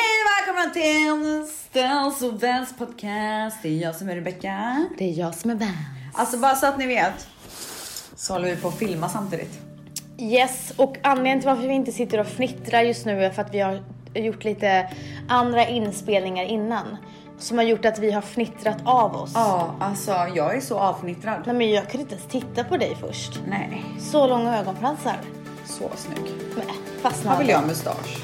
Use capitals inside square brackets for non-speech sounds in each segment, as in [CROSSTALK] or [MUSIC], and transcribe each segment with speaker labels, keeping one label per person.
Speaker 1: Välkomna till en Ställs och Vans podcast. Det är jag som är Rebecca.
Speaker 2: Det är jag som är vän.
Speaker 1: Alltså bara så att ni vet så håller vi på att filma samtidigt.
Speaker 2: Yes, och anledningen till varför vi inte sitter och fnittrar just nu är för att vi har gjort lite andra inspelningar innan. Som har gjort att vi har fnittrat av oss.
Speaker 1: Ja, alltså jag är så avfnittrad.
Speaker 2: Nej men jag kunde inte ens titta på dig först.
Speaker 1: Nej,
Speaker 2: Så långa ögonfransar.
Speaker 1: så snygg.
Speaker 2: Men,
Speaker 1: Här
Speaker 2: fastnade.
Speaker 1: vill jag ha mustasch.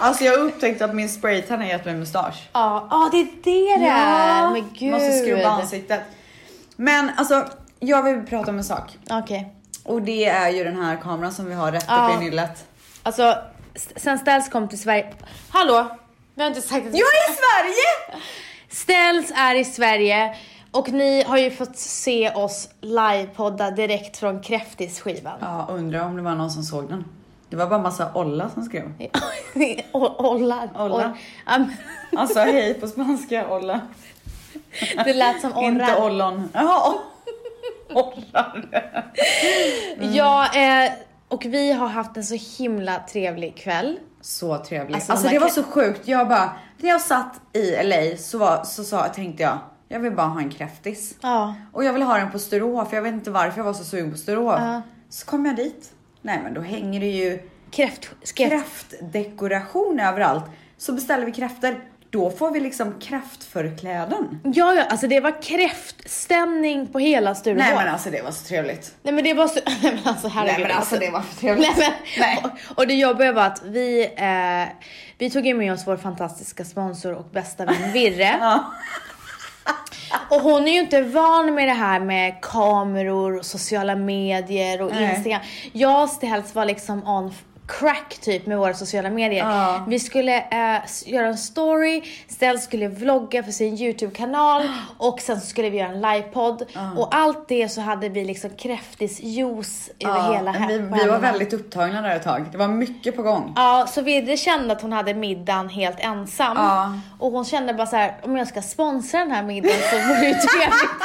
Speaker 1: Alltså jag har upptäckt att min spraytan har gett mig mustasch.
Speaker 2: Ja, ja det är det det är. Men gud.
Speaker 1: Måste skrubba ansiktet. Men alltså, jag vill prata om en sak.
Speaker 2: Okej.
Speaker 1: Och det är ju den här kameran som vi har rätt
Speaker 2: Ja.
Speaker 1: upp i nyllet.
Speaker 2: Alltså, s- sen Ställs kom till Sverige. Hallå? Vi har inte sagt att
Speaker 1: Jag är i Sverige!
Speaker 2: Ställs är i Sverige och ni har ju fått se oss livepodda direkt från Kräftis-skivan.
Speaker 1: Ja, undrar om det var någon som såg den. Det var bara massa olla som skrev.
Speaker 2: [LAUGHS] O- Olla.
Speaker 1: Olla.
Speaker 2: Or- Ja, men
Speaker 1: Alltså hej på spanska, olla.
Speaker 2: [LAUGHS] det lät som orrar.
Speaker 1: Inte ollon. Jaha, o- orrar. Mm.
Speaker 2: Ja, eh, och vi har haft en så himla trevlig kväll.
Speaker 1: Så trevligt. Alltså,
Speaker 2: Alltså, man
Speaker 1: det var
Speaker 2: kan-
Speaker 1: så sjukt. Jag bara, när jag satt i LA så, var, så, sa- tänkte jag, jag vill bara ha en kräftis.
Speaker 2: Ja.
Speaker 1: Och jag vill ha den på Sturehof, jag vet inte varför jag var så sugen på Sturehof.
Speaker 2: Ja.
Speaker 1: Så kom jag dit. Nej men då hänger det ju
Speaker 2: Kräft... Kräft...
Speaker 1: kräftdekoration överallt. Så beställer vi kräfter. Då får vi liksom kräftförkläden.
Speaker 2: Ja, ja, alltså det var kräftstämning på hela Sturehof.
Speaker 1: Nej men alltså det var så trevligt.
Speaker 2: Nej men det var så... [LAUGHS] Nej men alltså herregud.
Speaker 1: Nej men alltså det var för trevligt.
Speaker 2: Nej, men,
Speaker 1: Nej.
Speaker 2: Och, och det jobbiga var att vi, eh, vi tog ju med oss vår fantastiska sponsor och bästa vän Virre.
Speaker 1: [LAUGHS] Ja.
Speaker 2: Och hon är ju inte van med det här med kameror och sociala medier och
Speaker 1: Nej.
Speaker 2: Instagram. Jag och Stels var liksom on f- crack typ med våra sociala medier.
Speaker 1: Ja.
Speaker 2: Vi skulle eh, s- göra en story, Stels skulle vlogga för sin YouTube-kanal
Speaker 1: [GASPS]
Speaker 2: och sen så skulle vi göra en livepodd. Och allt det så hade vi liksom kräftis juice över hela
Speaker 1: men
Speaker 2: hä-
Speaker 1: vi,
Speaker 2: på
Speaker 1: vi var
Speaker 2: händerna.
Speaker 1: väldigt upptagna där ett tag. Det var mycket på gång.
Speaker 2: Ja, så Vidde kände att hon hade middagen helt ensam.
Speaker 1: Ja.
Speaker 2: Och hon kände bara så här: om jag ska sponsra den här middagen så vore det ju [LAUGHS] trevligt.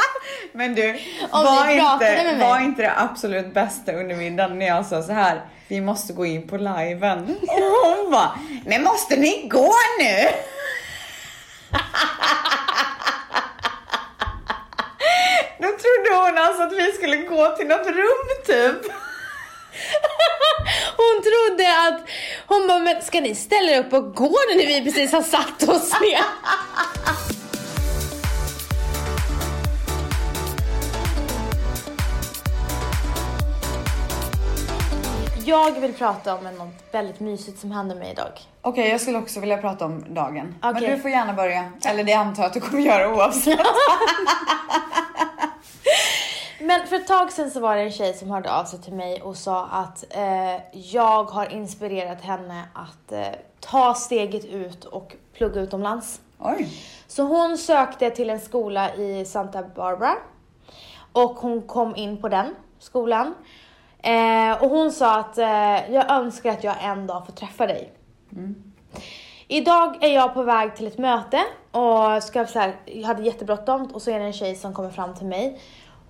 Speaker 1: Men du,
Speaker 2: Om
Speaker 1: var
Speaker 2: ni pratade med
Speaker 1: inte,
Speaker 2: mig.
Speaker 1: var inte det absolut bästa under middagen när jag sa så här. Vi måste gå in på [LAUGHS] liven. Och hon bara, men måste ni gå nu? [LAUGHS] Då trodde hon alltså att vi skulle gå till något rum typ.
Speaker 2: Hon trodde att, hon bara, men ska ni ställa er upp och gå nu när vi precis har satt oss ner? Jag vill prata om något väldigt mysigt som hände mig idag.
Speaker 1: Okej, jag skulle också vilja prata om dagen. Men
Speaker 2: Okej.
Speaker 1: du får gärna börja. Eller det antar jag att du kommer göra oavsett.
Speaker 2: Men för ett tag sedan så var det en tjej som hörde av sig till mig och sa att eh, jag har inspirerat henne att eh, ta steget ut och plugga utomlands.
Speaker 1: [LAUGHS] Oj.
Speaker 2: Så hon sökte till en skola i Santa Barbara och hon kom in på den skolan. Eh, och hon sa att eh, jag önskar att jag en dag får träffa dig. Idag är jag på väg till ett möte och ska så här, jag hade jättebråttom och så är det en tjej som kommer fram till mig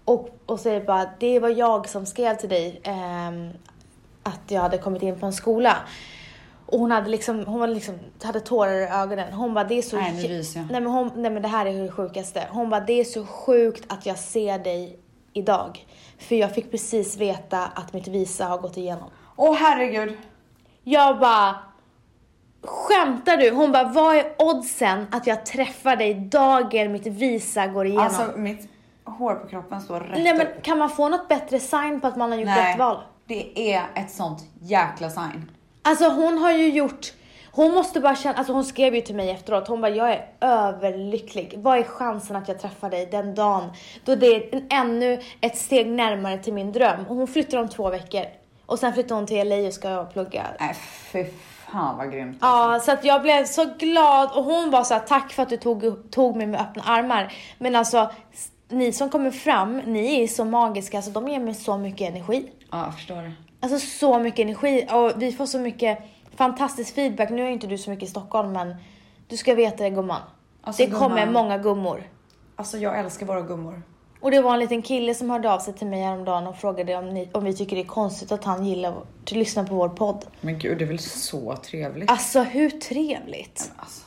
Speaker 2: och, och säger bara det var jag som skrev till dig ehm, att jag hade kommit in på en skola. Och hon hade liksom, hon var liksom, hade tårar i ögonen. Hon bara det är så...
Speaker 1: Nej, nu
Speaker 2: jä-
Speaker 1: ryser jag.
Speaker 2: nej, men hon, nej men det här är det sjukaste. Hon bara det är så sjukt att jag ser dig idag. För jag fick precis veta att mitt visa har gått igenom.
Speaker 1: Åh herregud.
Speaker 2: Jag bara, skämtar du? Hon bara, vad är oddsen att jag träffar dig dagen mitt visa går igenom?
Speaker 1: Alltså mitt hår på kroppen står rätt
Speaker 2: Nej men
Speaker 1: upp.
Speaker 2: kan man få något bättre sign på att man har gjort rätt val?
Speaker 1: det är ett sånt jäkla sign.
Speaker 2: Alltså hon har ju gjort, hon måste bara känna, alltså hon skrev ju till mig efteråt, hon bara jag är överlycklig. Vad är chansen att jag träffar dig den dagen då det är en, ännu ett steg närmare till min dröm? Och hon flyttar om två veckor. Och sen flyttar hon till LA och ska plugga
Speaker 1: Nej, fy fan vad grymt.
Speaker 2: Ja, så att jag blev så glad och hon var så här, tack för att du tog, tog mig med öppna armar. Men alltså, s- ni som kommer fram, ni är så magiska, alltså de ger mig så mycket energi.
Speaker 1: Ja, jag förstår det.
Speaker 2: Alltså så mycket energi och vi får så mycket fantastisk feedback. Nu är ju inte du så mycket i Stockholm men Du ska veta det gumman.
Speaker 1: Alltså,
Speaker 2: det kommer
Speaker 1: gumman.
Speaker 2: många gummor.
Speaker 1: Alltså jag älskar våra gummor.
Speaker 2: Och det var en liten kille som hörde av sig till mig häromdagen och frågade om, ni, om vi tycker det är konstigt att han gillar att lyssna på vår podd.
Speaker 1: Men gud, det är väl så trevligt?
Speaker 2: Alltså hur trevligt!
Speaker 1: Alltså.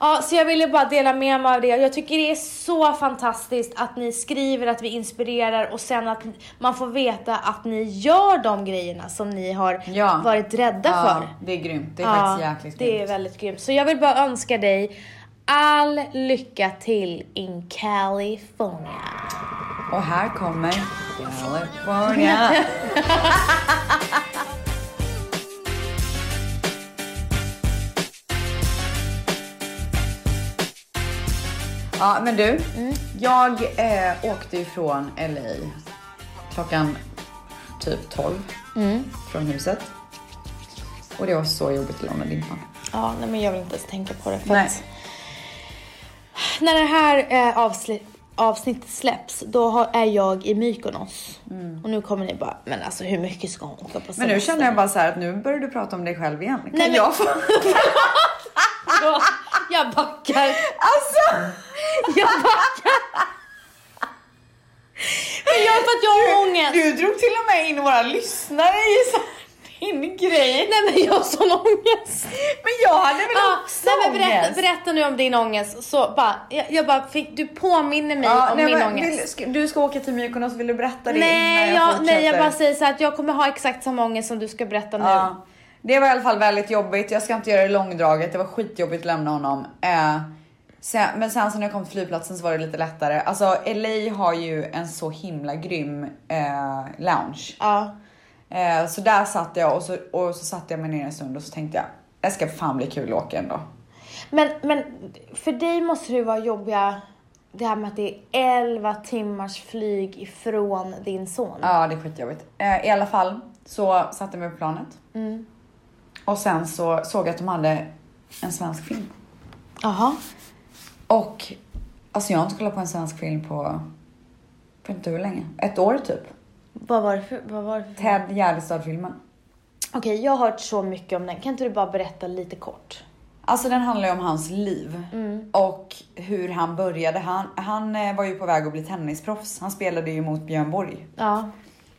Speaker 2: Ja, så jag ville bara dela med mig av det. Jag tycker det är så fantastiskt att ni skriver, att vi inspirerar och sen att man får veta att ni gör de grejerna som ni har
Speaker 1: Ja.
Speaker 2: varit rädda för.
Speaker 1: Ja, det är grymt. Det är faktiskt jäkligt
Speaker 2: det är
Speaker 1: grymt.
Speaker 2: väldigt grymt. Så jag vill bara önska dig all lycka till in California.
Speaker 1: Och här kommer California. [LAUGHS] ja, men du. Jag eh, åkte ifrån LA klockan typ 12 från huset. Och det var så jobbigt att lämna limpan.
Speaker 2: Ja, nej, men jag vill inte ens tänka på det. För
Speaker 1: Nej.
Speaker 2: att när det här eh, avsli- avsnittet släpps, då har, är jag i Mykonos. Och nu kommer ni bara, men alltså hur mycket ska hon åka på semester?
Speaker 1: Mm. Men nu känner jag bara så här att nu börjar du prata om dig själv igen. Kan
Speaker 2: Nej,
Speaker 1: [LAUGHS]
Speaker 2: men-
Speaker 1: jag få...
Speaker 2: jag... jag backar.
Speaker 1: Alltså!
Speaker 2: Jag backar. Men jag för att jag har ångest.
Speaker 1: Du drog till och med in våra lyssnare i så här- din grej.
Speaker 2: Nej men jag har sån ångest.
Speaker 1: Men jag hade väl
Speaker 2: Ja,
Speaker 1: också
Speaker 2: Ah, nej, men berätta,
Speaker 1: ångest?
Speaker 2: berätta nu om din ångest. Så bara, jag, jag bara fick, du påminner mig
Speaker 1: Ja,
Speaker 2: om
Speaker 1: Ah, nej,
Speaker 2: min
Speaker 1: men
Speaker 2: ångest.
Speaker 1: vill- ska- du ska åka till Mykonos, vill du berätta det
Speaker 2: Nej
Speaker 1: innan jag,
Speaker 2: jag,
Speaker 1: fortsätter?
Speaker 2: nej, jag bara säger så här att jag kommer ha exakt samma ångest som du ska berätta nu.
Speaker 1: Ja. Ah. Det var i alla fall väldigt jobbigt. Jag ska inte göra det långdraget. Det var skitjobbigt att lämna honom. Eh, sen, men sen så när jag kom till flygplatsen så var det lite lättare. Alltså LA har ju en så himla grym eh, lounge.
Speaker 2: Ja.
Speaker 1: Eh, så där satt jag och så, och så satte jag mig ner en stund och så tänkte jag, det ska fan bli kul att åka ändå.
Speaker 2: Men, men för dig måste det ju vara jobbiga det här med att det är 11 timmars flyg ifrån din son.
Speaker 1: Ja, det är skitjobbigt. Eh, I alla fall så satte jag mig på planet. Och sen så såg jag att de hade en svensk film.
Speaker 2: Jaha.
Speaker 1: Och alltså jag har inte kollat på en svensk film på, på inte hur länge. Ett år typ.
Speaker 2: Vad var det för... Vad var det för?
Speaker 1: Ted Gärdestad-filmen.
Speaker 2: Okej, jag har hört så mycket om den. Kan inte du bara berätta lite kort?
Speaker 1: Alltså den handlar ju om hans liv
Speaker 2: Mm.
Speaker 1: och hur han började. Han, han eh, var ju på väg att bli tennisproffs. Han spelade ju mot Björn Borg.
Speaker 2: Ja.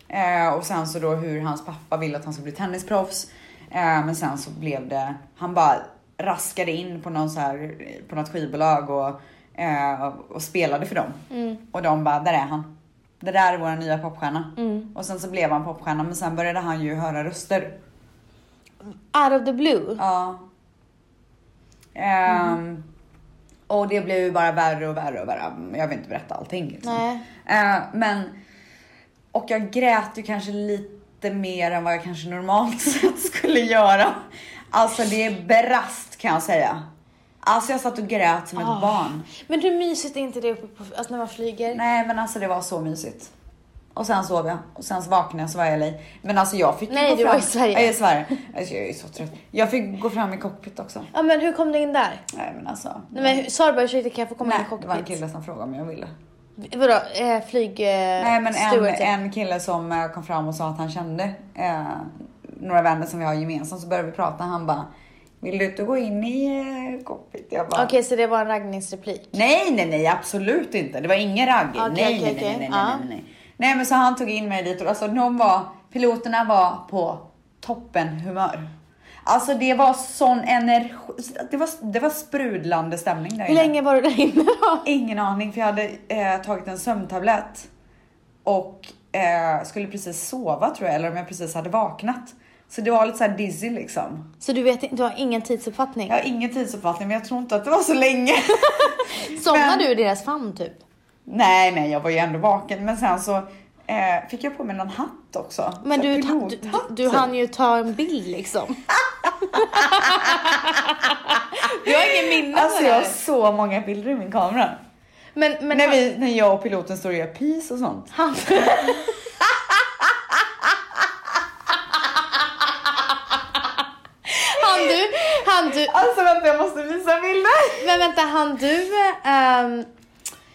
Speaker 1: Eh, och sen så då hur hans pappa ville att han skulle bli tennisproffs. Eh, men sen så blev det, han bara raskade in på, någon så här, på något skivbolag och, eh, och spelade för dem.
Speaker 2: Mm.
Speaker 1: Och de bara, där är han. Det där är vår nya popstjärna.
Speaker 2: Mm.
Speaker 1: Och sen så blev han popstjärna men sen började han ju höra röster.
Speaker 2: Out of the blue.
Speaker 1: Ja. Ehm, Och det blev ju bara värre och värre och värre. Jag vill inte berätta allting. Liksom.
Speaker 2: Nej.
Speaker 1: Eh, men, och jag grät ju kanske lite mer än vad jag kanske normalt [LAUGHS] sett skulle göra. Alltså det brast kan jag säga. Alltså jag satt och grät som ett
Speaker 2: Ah.
Speaker 1: barn.
Speaker 2: Men hur mysigt är inte det uppe på, alltså när man flyger?
Speaker 1: Nej men alltså det var så mysigt. Och sen sov jag och sen så vaknade jag så var jag i LA. Men alltså jag fick ju
Speaker 2: Nej,
Speaker 1: gå
Speaker 2: du
Speaker 1: fram.
Speaker 2: var i Sverige.
Speaker 1: Ja, Jag är i Sverige. Alltså, jag är så trött. Jag fick gå fram i cockpit också.
Speaker 2: Ja men hur kom du in där?
Speaker 1: Nej men alltså.
Speaker 2: Nej men hur- sa du bara ursäkta kan jag få komma in
Speaker 1: Nej,
Speaker 2: i
Speaker 1: det var en
Speaker 2: cockpit?
Speaker 1: kille som frågade om jag ville.
Speaker 2: Vadå eh, flyg... Eh,
Speaker 1: Nej men en,
Speaker 2: stewardsen?
Speaker 1: en kille som eh, kom fram och sa att han kände eh, några vänner som vi har gemensamt så började vi prata han bara Vill du inte gå in i eh, cockpit? Jag bara
Speaker 2: Okej, så det var en raggningsreplik.
Speaker 1: Nej nej nej absolut inte. Det var ingen raggig.
Speaker 2: Okej,
Speaker 1: nej,
Speaker 2: okej,
Speaker 1: nej, nej,
Speaker 2: okej.
Speaker 1: nej, nej,
Speaker 2: Ja.
Speaker 1: nej nej nej. men så han tog in mig dit och alltså de var, piloterna var på toppen humör. Alltså det var sån energi, det var, det var sprudlande stämning där
Speaker 2: Hur länge var du där inne då?
Speaker 1: Ingen aning för jag hade eh, tagit en sömntablett och eh, skulle precis sova tror jag eller om jag precis hade vaknat. Så det var lite såhär dizzy liksom.
Speaker 2: Så du vet inte- du har ingen tidsuppfattning?
Speaker 1: Jag har ingen tidsuppfattning men jag tror inte att det var så länge. [LAUGHS]
Speaker 2: Somnade
Speaker 1: men-
Speaker 2: du i deras famn typ?
Speaker 1: nej nej jag var ju ändå vaken men sen så eh, fick jag på mig någon hatt också.
Speaker 2: Men
Speaker 1: Så här
Speaker 2: du, du, du,
Speaker 1: pilothatt,
Speaker 2: du
Speaker 1: typ.
Speaker 2: hann ju ta en bild liksom.
Speaker 1: [LAUGHS]
Speaker 2: du har ingen minne
Speaker 1: Alltså
Speaker 2: av det
Speaker 1: jag har
Speaker 2: här.
Speaker 1: så många bilder i min kamera.
Speaker 2: Men, men
Speaker 1: när,
Speaker 2: han,
Speaker 1: vi, när jag och piloten står och gör peace och sånt.
Speaker 2: han, han du, han du,
Speaker 1: Alltså vänta jag måste visa bilder.
Speaker 2: men vänta han du um,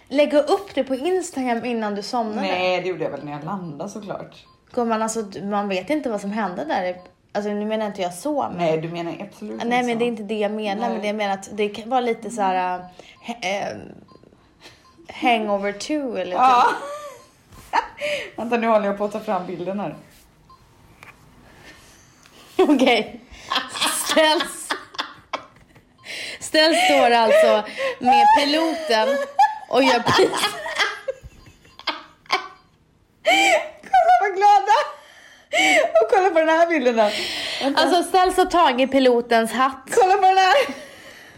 Speaker 2: lägga upp det på Instagram innan du somnade?
Speaker 1: Nej det gjorde jag väl när jag landade såklart.
Speaker 2: Gumman, alltså, du- man vet inte vad som hände där. Alltså nu menar inte jag så men.
Speaker 1: Nej, du menar absolut inte
Speaker 2: Nej men
Speaker 1: så.
Speaker 2: det är inte det jag menar,
Speaker 1: Nej.
Speaker 2: men det jag menar att det kan vara lite så här äh, he- äh, hangover 2 eller
Speaker 1: Ja. [LAUGHS] Vänta, nu håller jag på att ta fram bilden här.
Speaker 2: typ. [LAUGHS] Okej. Ställs. Ställs står alltså med piloten och gör pis.
Speaker 1: Kolla vad glada! Och kolla på den här bilden här. Vänta,
Speaker 2: Alltså Ställs har tagit pilotens hatt.
Speaker 1: kolla på den här.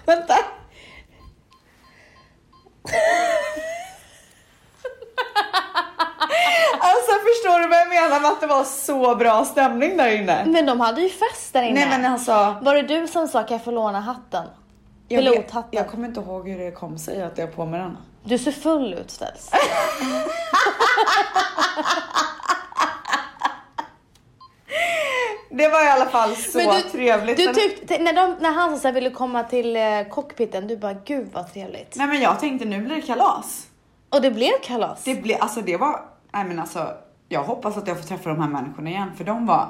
Speaker 1: Vänta. [LAUGHS] Alltså förstår du vad jag menar med att det var så bra stämning där inne?
Speaker 2: Men de hade ju fest där inne.
Speaker 1: Nej men alltså.
Speaker 2: Var det du som sa kan jag få låna hatten?
Speaker 1: Jag, vet-
Speaker 2: Pilothatten.
Speaker 1: jag kommer inte ihåg hur det kom sig att jag har på mig den.
Speaker 2: Du ser full ut Ställs.
Speaker 1: Det var i alla fall så
Speaker 2: Men
Speaker 1: trevligt.
Speaker 2: Du
Speaker 1: Men-
Speaker 2: tyckte, när, de, när han så här ville komma till eh, cockpiten, du bara gud vad trevligt.
Speaker 1: Nej men jag tänkte nu blir det kalas.
Speaker 2: Och det blev kalas.
Speaker 1: Det blir, alltså det var, nej men alltså jag hoppas att jag får träffa de här människorna igen för de var,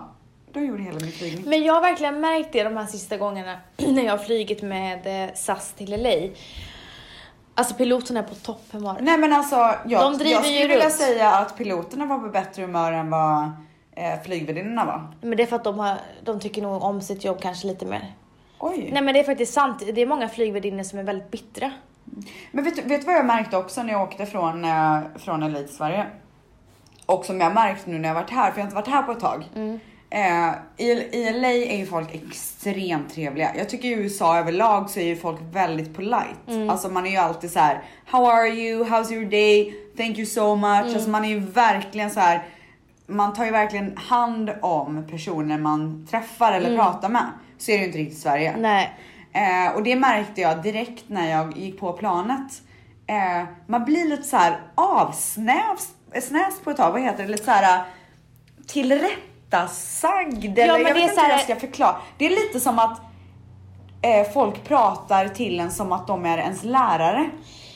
Speaker 1: de gjorde hela min flygning.
Speaker 2: Men jag har verkligen märkt det de här sista gångerna [CLEARS THROAT] när jag har flygit med eh, SAS till LA. Alltså piloterna är på topphumör.
Speaker 1: Nej men alltså jag,
Speaker 2: De driver
Speaker 1: jag
Speaker 2: ju
Speaker 1: skulle vilja
Speaker 2: runt.
Speaker 1: säga att piloterna var på bättre humör än vad eh, flygvärdinnorna var.
Speaker 2: Men det är för att de, har, de tycker nog om sitt jobb kanske lite mer.
Speaker 1: Oj.
Speaker 2: Nej men det är faktiskt sant, det är många flygvärdinnor som är väldigt bittra.
Speaker 1: Men vet, du- vet du vad jag märkte också när jag åkte från, eh, från LA till Sverige? Och som jag märkt nu när jag varit här, för jag har inte varit här på ett tag. Eh, i, I LA är ju folk extremt trevliga. Jag tycker i USA överlag så är ju folk väldigt polite. Alltså man är ju alltid så här: How are you? How's your day? Thank you so much. Alltså man är ju verkligen så här. Man tar ju verkligen hand om personer man träffar eller pratar med. Så är det ju inte riktigt i Sverige.
Speaker 2: Nej.
Speaker 1: Eh, och det märkte jag direkt när jag gick på planet. Eh, man blir lite så här avsnävs eh, snävs på ett tag, vad heter det? Lite så här eh, tillrättasagd eller
Speaker 2: men
Speaker 1: jag
Speaker 2: det
Speaker 1: vet
Speaker 2: är
Speaker 1: inte
Speaker 2: så
Speaker 1: hur
Speaker 2: här-
Speaker 1: jag ska förklara. Det är lite som att eh, folk pratar till en som att de är ens lärare.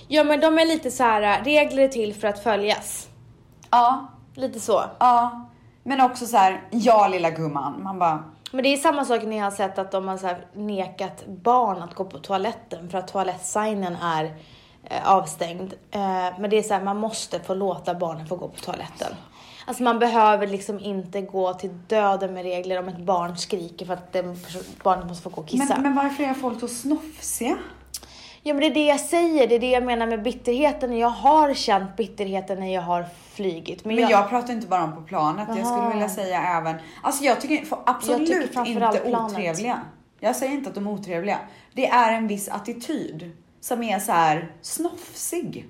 Speaker 2: Ja men de är lite så här eh, regler är till för att följas.
Speaker 1: Ja,
Speaker 2: Lite så.
Speaker 1: ja. Men också så här, ja lilla gumman. Man bara,
Speaker 2: Men det är samma sak när jag har sett att de har så här nekat barn att gå på toaletten för att toalettsignen är eh, avstängd. Eh, men det är så här, man måste få låta barnen få gå på toaletten. Alltså man behöver liksom inte gå till döden med regler om ett barn skriker för att den perso- barnet måste få gå och kissa.
Speaker 1: men, men varför är folk så snofsiga?
Speaker 2: Ja men det är det jag säger, det är det jag menar med bitterheten. Jag har känt bitterheten när jag har flygit. Men,
Speaker 1: Men
Speaker 2: jag,
Speaker 1: jag pratar inte bara om på planet. Jag skulle
Speaker 2: Aha.
Speaker 1: vilja säga även, alltså jag tycker får absolut
Speaker 2: Jag tycker framförallt
Speaker 1: inte
Speaker 2: planet.
Speaker 1: otrevliga. Jag säger inte att de är otrevliga. Det är en viss attityd som är så här snofsig.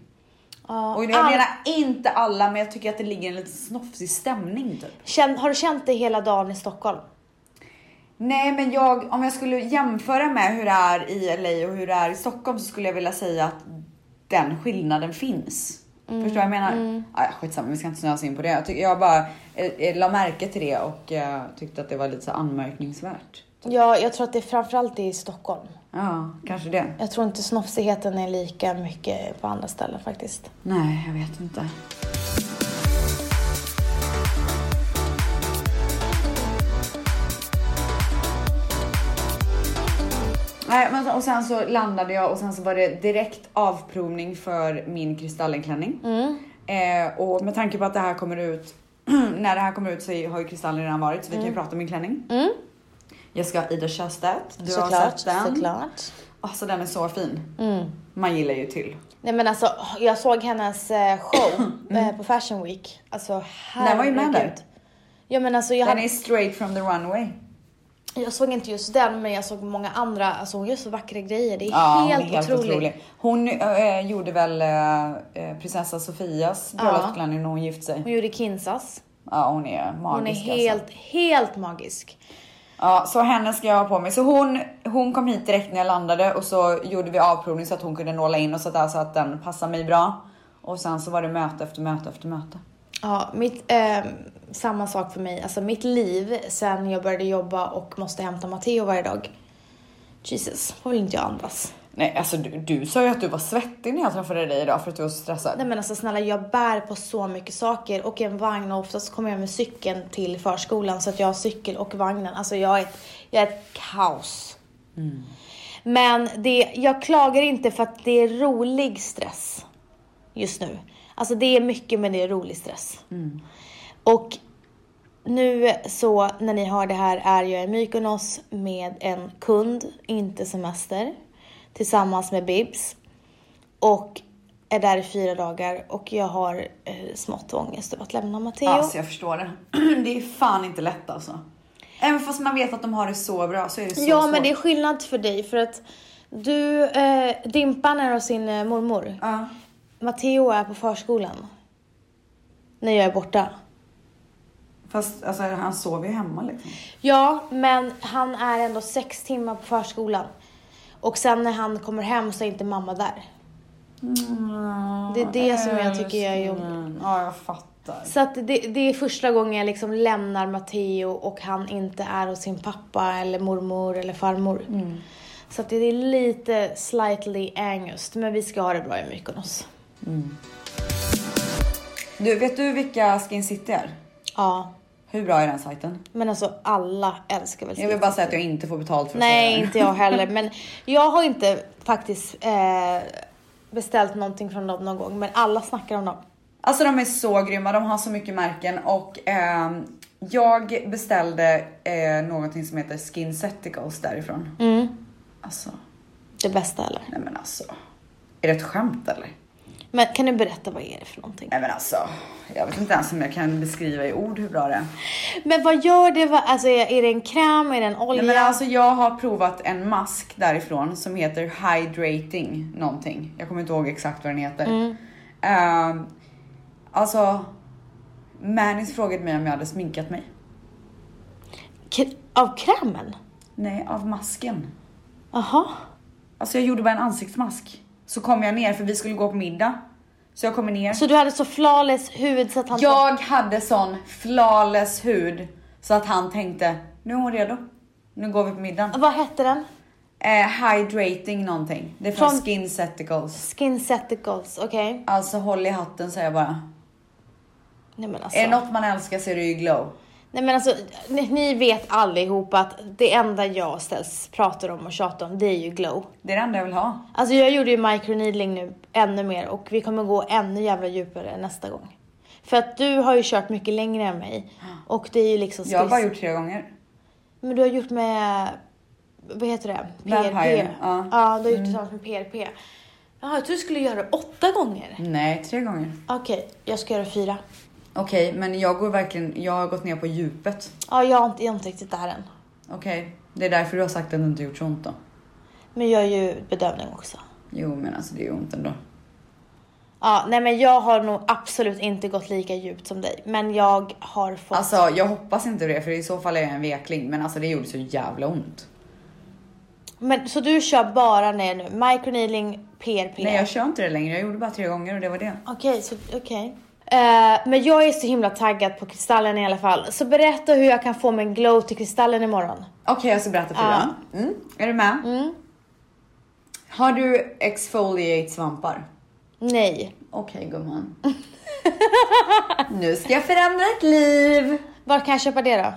Speaker 2: Ja,
Speaker 1: Och jag
Speaker 2: allt-
Speaker 1: menar inte alla, men jag tycker att det ligger en lite snofsig stämning typ.
Speaker 2: Känn- har du känt det hela dagen i Stockholm?
Speaker 1: Nej, men jag, om jag skulle jämföra med hur det är i LA och hur det är i Stockholm så skulle jag vilja säga att den skillnaden finns. Förstår du vad jag menar? Ah, ja, skitsamma, vi ska inte snöa oss in på det. Jag, tyck, jag bara eh, eh, la märke till det och eh, tyckte att det var lite så anmärkningsvärt.
Speaker 2: Ja, jag tror att det är framförallt det är i Stockholm.
Speaker 1: Ja, kanske det.
Speaker 2: Jag tror inte snofsigheten är lika mycket på andra ställen faktiskt.
Speaker 1: Nej, jag vet inte. Nej, men, så- och sen så landade jag och sen så var det direkt avprovning för min Kristallenklänning. Eh, och med tanke på att det här kommer ut, [CLEARS THROAT] när det här kommer ut så har ju Kristallen redan varit så vi kan ju prata om min klänning.
Speaker 2: Mm.
Speaker 1: Jag ska ha Ida Sjöstedt, du har
Speaker 2: såklart,
Speaker 1: sett den. Mm.
Speaker 2: såklart.
Speaker 1: Alltså den är så fin. Man gillar ju till.
Speaker 2: Nej men alltså, jag såg hennes eh, show eh, på Fashion Week. Alltså herregud.
Speaker 1: Mm. Den var ju med där.
Speaker 2: Ja men alltså jag,
Speaker 1: Den
Speaker 2: hade,
Speaker 1: är straight from the runway.
Speaker 2: jag såg inte just den men jag såg många andra. Alltså hon gör så vackra grejer. Det är
Speaker 1: Ja,
Speaker 2: helt,
Speaker 1: hon är helt otrolig.
Speaker 2: otroligt.
Speaker 1: Hon eh, gjorde väl eh, eh, prinsessa Sofias bröllopsklänning när hon gifte sig.
Speaker 2: Hon gjorde Kinsas.
Speaker 1: Ja, hon är magisk.
Speaker 2: Hon är
Speaker 1: Alltså.
Speaker 2: helt, helt magisk.
Speaker 1: Ja, så henne ska jag ha på mig. Så hon, hon kom hit direkt när jag landade och så gjorde vi avprovning så att hon kunde nåla in och så att, alltså att den passar mig bra. Och sen så var det möte efter möte efter möte.
Speaker 2: Ja, mitt, eh, samma sak för mig. Alltså mitt liv sen jag började jobba och måste hämta Matteo varje dag. Jesus, får väl inte jag andas.
Speaker 1: Nej, alltså du, du sa ju att du var svettig när jag träffade dig idag för att du var så stressad.
Speaker 2: Nej men alltså snälla, jag bär på så mycket saker och en vagn och oftast kommer jag med cykeln till förskolan så att jag har cykel och vagnen. Alltså jag är ett, jag är ett kaos. Men det, jag klagar inte för att det är rolig stress just nu. Alltså det är mycket men det är rolig stress. Och nu så när ni hör det här är jag i Mykonos med en kund, inte semester, tillsammans med Bibs. Och är där i fyra dagar och jag har eh, smått ångest över att lämna Matteo.
Speaker 1: Alltså jag förstår det. [CLEARS THROAT] Det är fan inte lätt alltså. Även fast man vet att de har det så bra så är det så
Speaker 2: ja,
Speaker 1: svårt.
Speaker 2: men det är skillnad för dig för att du, eh, Dimpan är hos sin eh, mormor.
Speaker 1: Ja.
Speaker 2: Matteo är på förskolan. När jag är borta.
Speaker 1: Fast alltså, han sover ju hemma liksom.
Speaker 2: Ja, men han är ändå sex timmar på förskolan. Och sen när han kommer hem så är inte mamma där. Mm. Det är det som jag tycker jag är jobbigt.
Speaker 1: Mm, Ja, jag fattar.
Speaker 2: Så att det, det är första gången jag liksom lämnar Matteo och han inte är hos sin pappa eller mormor eller farmor. Så att det är lite slightly angust, men vi ska ha det bra i Mykonos.
Speaker 1: Mm. Du, vet du vilka Skin City är?
Speaker 2: Ja,
Speaker 1: Hur bra är den sajten?
Speaker 2: men alltså alla älskar väl
Speaker 1: Jag vill bara säga att jag inte får betalt för att säga
Speaker 2: Nej,
Speaker 1: det.
Speaker 2: inte jag heller. Men jag har inte faktiskt eh, beställt någonting från dem någon gång, men alla snackar om dem.
Speaker 1: Alltså de är så grymma, de har så mycket märken och ehm, jag beställde eh, någonting som heter Skinseticals därifrån. Alltså,
Speaker 2: Mm, Det bästa eller?
Speaker 1: nej men alltså. Är det ett skämt eller?
Speaker 2: Men kan du berätta vad är det för någonting?
Speaker 1: Nej men alltså, jag vet inte ens om jag kan beskriva i ord hur bra det är.
Speaker 2: Men vad gör det? Vad- Alltså är är det en kräm? Är det en olja?
Speaker 1: Nej, men alltså jag har provat en mask därifrån som heter hydrating någonting. Jag kommer inte ihåg exakt vad den heter.
Speaker 2: Mm.
Speaker 1: Ehm, alltså, Manis frågade mig om jag hade sminkat mig.
Speaker 2: K- av krämen?
Speaker 1: Nej, av masken.
Speaker 2: Jaha.
Speaker 1: Alltså jag gjorde bara en ansiktsmask. Så kom jag ner för vi skulle gå på middag. Så jag kommer ner.
Speaker 2: Så du hade så flawless hud så att Alltså, han...
Speaker 1: Jag hade sån flawless hud så att han tänkte, nu är hon redo. Nu går vi på middagen.
Speaker 2: Vad hette den?
Speaker 1: Eh, hydrating någonting. Det är från,
Speaker 2: Från-
Speaker 1: Skinseticals.
Speaker 2: Skinseticals, okej.
Speaker 1: Alltså håll i hatten säger jag bara.
Speaker 2: Nej men alltså.
Speaker 1: Är det något man älskar så är det ju glow.
Speaker 2: Nej men alltså, ni, ni vet allihopa att det enda jag ställs pratar om och tjatar om, det är ju glow.
Speaker 1: Det är det enda jag vill ha.
Speaker 2: Alltså jag gjorde ju microneedling nu ännu mer och vi kommer gå ännu jävla djupare nästa gång. För att du har ju kört mycket längre än mig och det är ju liksom
Speaker 1: Jag har bara
Speaker 2: skills-
Speaker 1: gjort tre gånger.
Speaker 2: Men du har gjort med, vad heter det?
Speaker 1: Vampire,
Speaker 2: PRP.
Speaker 1: ja. Mm.
Speaker 2: du har gjort tillsammans med PRP. Jaha, jag trodde du skulle göra det åtta gånger.
Speaker 1: Nej, tre gånger.
Speaker 2: Okej, jag ska göra fyra.
Speaker 1: Okej, men jag går verkligen, jag har gått ner på djupet.
Speaker 2: Ja, jag, har inte- jag är inte riktigt där än.
Speaker 1: Okej, det är därför du har sagt att det inte gjort så ont då.
Speaker 2: Men jag gör ju bedövning också.
Speaker 1: Jo, men alltså det är ju ont ändå.
Speaker 2: Ja, nej men jag har nog absolut inte gått lika djupt som dig. Men jag har fått...
Speaker 1: Alltså jag hoppas inte det för i så fall är jag en vekling men alltså det gjorde så jävla ont.
Speaker 2: Men, så du kör bara ner nu? Microneedling, PRP?
Speaker 1: Nej jag kör inte det längre, jag gjorde bara tre gånger och det var det.
Speaker 2: Okej, så okej. Eh, men jag är så himla taggad på Kristallen i alla fall. Så berätta hur jag kan få min glow till Kristallen imorgon.
Speaker 1: Okej jag ska berätta för dig. då. Mm. Är du med? Har du exfoliate svampar?
Speaker 2: Nej.
Speaker 1: Okej gumman. nu ska jag förändra ett liv.
Speaker 2: Var kan jag köpa det då?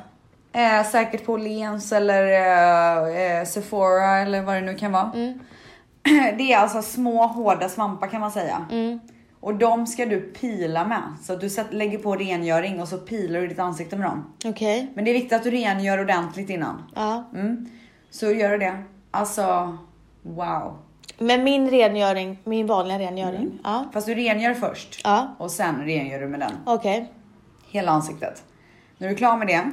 Speaker 1: Eh, säkert på Åhléns eller eh, eh, Sephora eller vad det nu kan vara. [CLEARS THROAT] Det är alltså små hårda svampar kan man säga. Och de ska du pila med. Så att du sätt, lägger på rengöring och så pilar du ditt ansikte med dem.
Speaker 2: Okej.
Speaker 1: Men det är viktigt att du rengör ordentligt innan.
Speaker 2: Ja.
Speaker 1: Mm. Så gör du det. Alltså, wow.
Speaker 2: Men min rengöring, min vanliga rengöring. Ja.
Speaker 1: Fast du rengör först.
Speaker 2: Ja.
Speaker 1: Och sen rengör du med den.
Speaker 2: Okej.
Speaker 1: Hela ansiktet. När du är klar med det,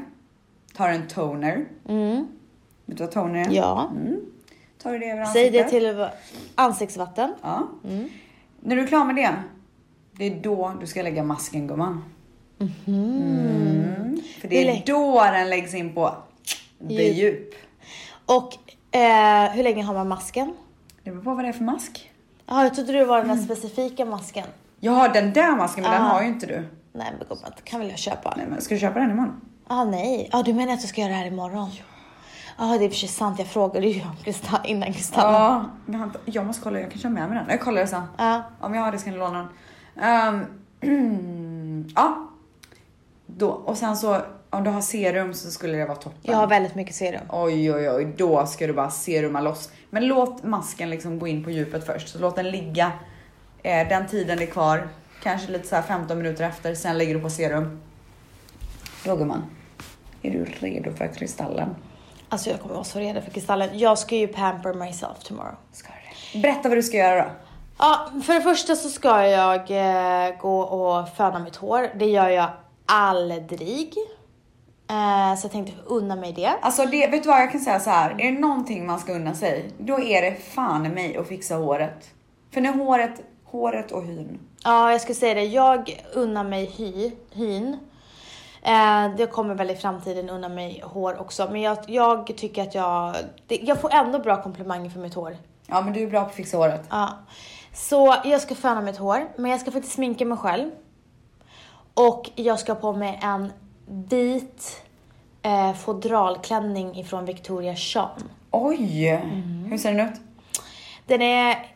Speaker 1: tar du en toner. Vet du vad toner är?
Speaker 2: Mm. Ja.
Speaker 1: Mm. Tar du det över
Speaker 2: Säg
Speaker 1: ansiktet?
Speaker 2: det till Mm. ansiktsvatten.
Speaker 1: Ja. När du är klar med det, det är då du ska lägga masken gumman.
Speaker 2: Mhm.
Speaker 1: Mm. För det
Speaker 2: Det är
Speaker 1: är
Speaker 2: lätt.
Speaker 1: då den läggs in på the
Speaker 2: Djup.
Speaker 1: djup.
Speaker 2: Och eh, hur länge har man masken?
Speaker 1: Det beror på vad det är för mask.
Speaker 2: Jaha, jag trodde det var den där specifika masken.
Speaker 1: Jag har den där masken men den
Speaker 2: Ah.
Speaker 1: har ju inte du.
Speaker 2: Nej men gumman, det kan väl jag köpa?
Speaker 1: Nej, men ska du köpa den imorgon?
Speaker 2: Ah nej. Ja, ah, du menar att du ska göra det här imorgon? Ja. Ja, det är i och för sig sant. Jag frågade ju om Kristal innan Kristallen. Ja.
Speaker 1: Ja, vänta, jag måste kolla, jag kan köra med mig den. Jag kollar det sen.
Speaker 2: Ja.
Speaker 1: Om jag har det ska ni låna den. Ehm, [CLEARS THROAT] ja. Då, och sen så, om du har serum så skulle det vara toppen.
Speaker 2: Jag har väldigt mycket serum.
Speaker 1: Oj, oj, oj, då ska du bara seruma loss. Men låt masken liksom gå in på djupet först, så låt den ligga eh, den tiden det är kvar. Kanske lite så här 15 minuter efter, sen lägger du på serum. Då gumman, är du redo för kristallen?
Speaker 2: Alltså jag kommer vara så redo för Kristallen. Jag ska ju pamper myself tomorrow.
Speaker 1: Ska du det? Berätta vad du ska göra då.
Speaker 2: Ja, för det första så ska jag eh, gå och föna mitt hår. Det gör jag aldrig. Eh, så jag tänkte unna mig det.
Speaker 1: Alltså det, vet du vad jag kan säga så här. Är det någonting man ska unna sig, då är det fan i mig att fixa håret. För när håret, håret och hyn.
Speaker 2: Ja, jag skulle säga det. Jag unnar mig hy, hyn. Eh, det kommer väl i framtiden unna mig hår också. Men jag, jag tycker att jag... Det, jag får ändå bra komplimanger för mitt hår.
Speaker 1: Ja men du är bra på att fixa håret.
Speaker 2: Ja. Så jag ska föna mitt hår, men jag ska faktiskt sminka mig själv. Och jag ska ha på mig en vit eh, fodralklänning ifrån Victoria Sean.
Speaker 1: Oj!
Speaker 2: Mm.
Speaker 1: Hur ser den ut?
Speaker 2: Den är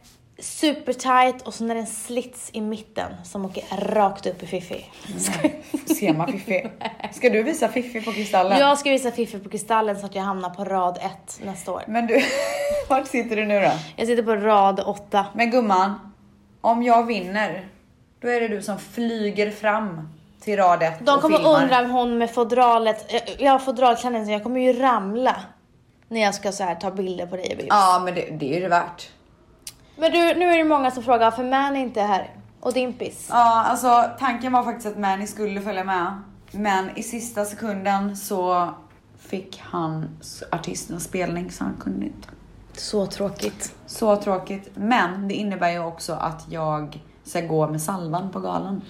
Speaker 2: supertight och så är den slits i mitten som åker rakt upp i fiffi.
Speaker 1: Ser man Fiffi?
Speaker 2: [LAUGHS]
Speaker 1: Ska du visa Fiffi på Kristallen?
Speaker 2: Jag ska visa fiffi på Kristallen så att jag hamnar på rad ett nästa år.
Speaker 1: Men du, [LAUGHS] vart sitter du nu då?
Speaker 2: Jag sitter på rad åtta.
Speaker 1: Men gumman, om jag vinner, då är det du som flyger fram till rad ett
Speaker 2: De
Speaker 1: och
Speaker 2: kommer
Speaker 1: filmar.
Speaker 2: undra om hon med fodralet, jag- jag har fodralklänning så jag kommer ju ramla när jag ska så här ta bilder på dig och bild.
Speaker 1: Ja men det, det är det värt.
Speaker 2: Men du, nu är det många som frågar varför Man inte är här och Dimpis.
Speaker 1: Ja, alltså tanken var faktiskt att Manny skulle följa med. Men i sista sekunden så fick han s- artistens spelning så han kunde inte.
Speaker 2: Så tråkigt.
Speaker 1: Så tråkigt. Men det innebär ju också att jag ska gå med Salvan på galan.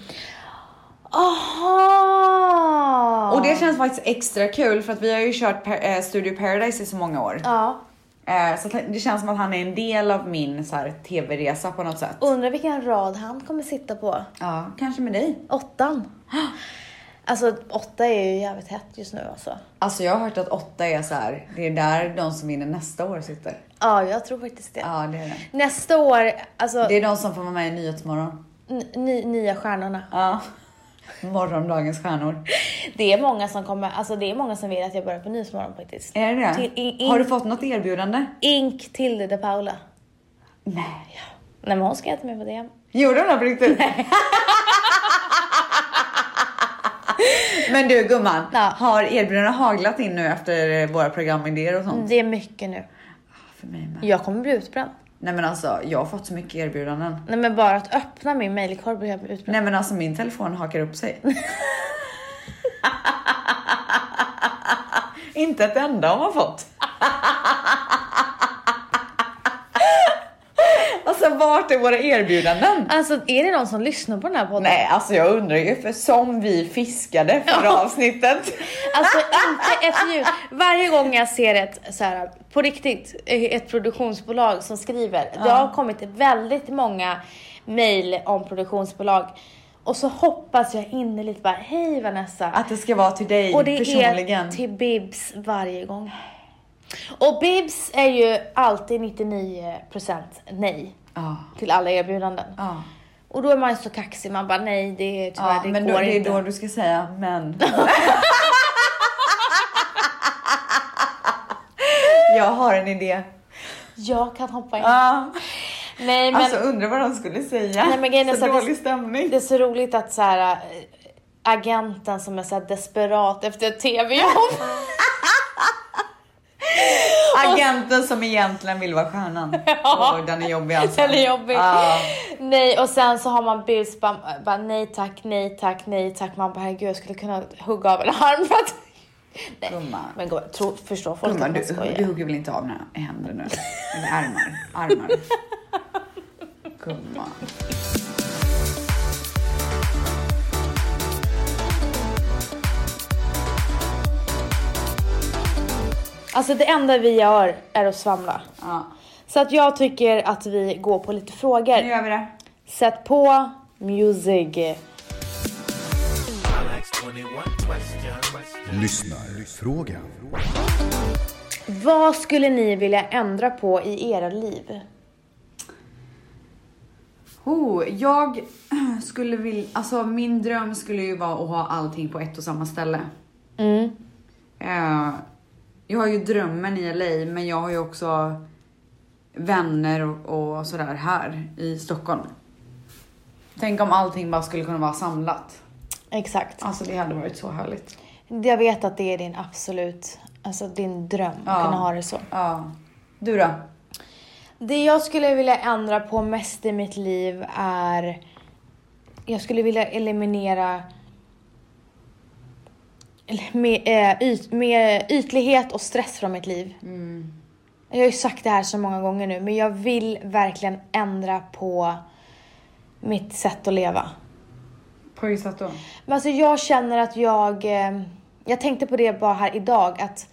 Speaker 2: Aha!
Speaker 1: Och det känns faktiskt extra kul för att vi har ju kört per, eh, Studio Paradise i så många år.
Speaker 2: Ja.
Speaker 1: Eh, så att det känns som att han är en del av min så här, tv-resa på något sätt.
Speaker 2: Undrar vilken rad han kommer sitta på.
Speaker 1: Ja, kanske med dig.
Speaker 2: Åttan. [GASPS] Alltså åtta är ju jävligt hett just nu alltså.
Speaker 1: Alltså jag har hört att åtta är så här. det är där de som vinner nästa år sitter.
Speaker 2: Ja, jag tror faktiskt det.
Speaker 1: Ja, det är det.
Speaker 2: Nästa år, alltså
Speaker 1: Det är de som får vara med i Nyhetsmorgon.
Speaker 2: n- ny, nya stjärnorna. [LAUGHS]
Speaker 1: Ja. Morgondagens stjärnor.
Speaker 2: Det är många som kommer, alltså det är många som vill att jag börjar på Nyhetsmorgon faktiskt.
Speaker 1: Är det det?
Speaker 2: Till- in- in-
Speaker 1: Har du fått något erbjudande?
Speaker 2: Ink Tilde de Paula.
Speaker 1: Nej.
Speaker 2: Nej men hon ska inte med på det.
Speaker 1: Gjorde hon det på riktigt? [LAUGHS] Men du gumman,
Speaker 2: Ja.
Speaker 1: har erbjudandena haglat in nu efter våra programidéer och sånt?
Speaker 2: Det är mycket nu.
Speaker 1: För mig med.
Speaker 2: Jag kommer bli utbränd.
Speaker 1: Nej men alltså, jag har fått så mycket erbjudanden.
Speaker 2: Nej men bara att öppna min mailkorg blir jag utbränd.
Speaker 1: Nej men alltså min telefon hakar upp
Speaker 2: [LAUGHS]
Speaker 1: sig. Inte ett enda har man fått. [LAUGHS] alltså vart är våra erbjudanden?
Speaker 2: Alltså är det någon som lyssnar på den här podden?
Speaker 1: Nej alltså jag undrar ju för som vi fiskade förra avsnittet.
Speaker 2: Alltså inte efter ljud. Varje gång jag ser ett, så här, på riktigt, eh, ett produktionsbolag som skriver. Det har kommit väldigt många mail om produktionsbolag. Och så hoppas jag innerligt bara, hej Vanessa.
Speaker 1: Att det ska vara till dig
Speaker 2: Och det
Speaker 1: personligen.
Speaker 2: är till Bibs varje gång. Och Bibs är ju alltid 99% nej
Speaker 1: Ja,
Speaker 2: till alla erbjudanden.
Speaker 1: ja.
Speaker 2: Och då är man ju så kaxig, man bara nej det är tyvärr,
Speaker 1: ja
Speaker 2: det
Speaker 1: men
Speaker 2: går
Speaker 1: då, det är
Speaker 2: inte.
Speaker 1: då du ska säga
Speaker 2: [LAUGHS]
Speaker 1: men. jag har en idé.
Speaker 2: Jag kan hoppa in.
Speaker 1: Ja.
Speaker 2: Nej men
Speaker 1: alltså undrar vad de skulle säga.
Speaker 2: Nej, men grejen är
Speaker 1: så
Speaker 2: så att det-
Speaker 1: dålig stämning.
Speaker 2: det [LAUGHS] är så roligt att så här äh, agenten som är så här desperat efter ett tv-jobb.
Speaker 1: [LAUGHS] Agenten som egentligen vill vara stjärnan.
Speaker 2: [LAUGHS] Ja.
Speaker 1: Och den är jobbig alltså.
Speaker 2: Den är jobbig.
Speaker 1: Ja.
Speaker 2: Nej och sen så har man bus bara, bara nej tack, nej tack, nej tack. Man bara herregud jag skulle kunna hugga av en arm för att... Nej.
Speaker 1: Gumman.
Speaker 2: Men gå, tro, förstår folk
Speaker 1: Gumman,
Speaker 2: att man
Speaker 1: du,
Speaker 2: skojar?
Speaker 1: du hugger väl inte av några händer nu? Eller armar?
Speaker 2: [LAUGHS]
Speaker 1: Armar. Gumman.
Speaker 2: Alltså det enda vi gör är att svamla.
Speaker 1: Ja.
Speaker 2: Så att jag tycker att vi går på lite frågor.
Speaker 1: Nu gör vi det.
Speaker 2: Sätt på music.
Speaker 3: Lyssnarfrågan.
Speaker 2: Vad skulle ni vilja ändra på i era liv?
Speaker 1: Oh, jag [CLEARS THROAT] skulle vilja, alltså min dröm skulle ju vara att ha allting på ett och samma ställe.
Speaker 2: Mm.
Speaker 1: Eh, jag har ju drömmen i LA, men jag har ju också vänner och, och sådär här i Stockholm. Tänk om allting bara skulle kunna vara samlat.
Speaker 2: Exakt.
Speaker 1: Alltså det hade varit så härligt.
Speaker 2: Jag vet att det är din absolut, alltså din dröm
Speaker 1: Ja.
Speaker 2: att kunna ha det så.
Speaker 1: Ja. Du då?
Speaker 2: Det jag skulle vilja ändra på mest i mitt liv är... Jag skulle vilja eliminera eller, mer, eh, yt, mer ytlighet och stress från mitt liv.
Speaker 1: Mm.
Speaker 2: Jag har ju sagt det här så många gånger nu, men jag vill verkligen ändra på mitt sätt att leva.
Speaker 1: På vilket sätt då?
Speaker 2: Men alltså jag känner att jag, eh, jag tänkte på det bara här idag att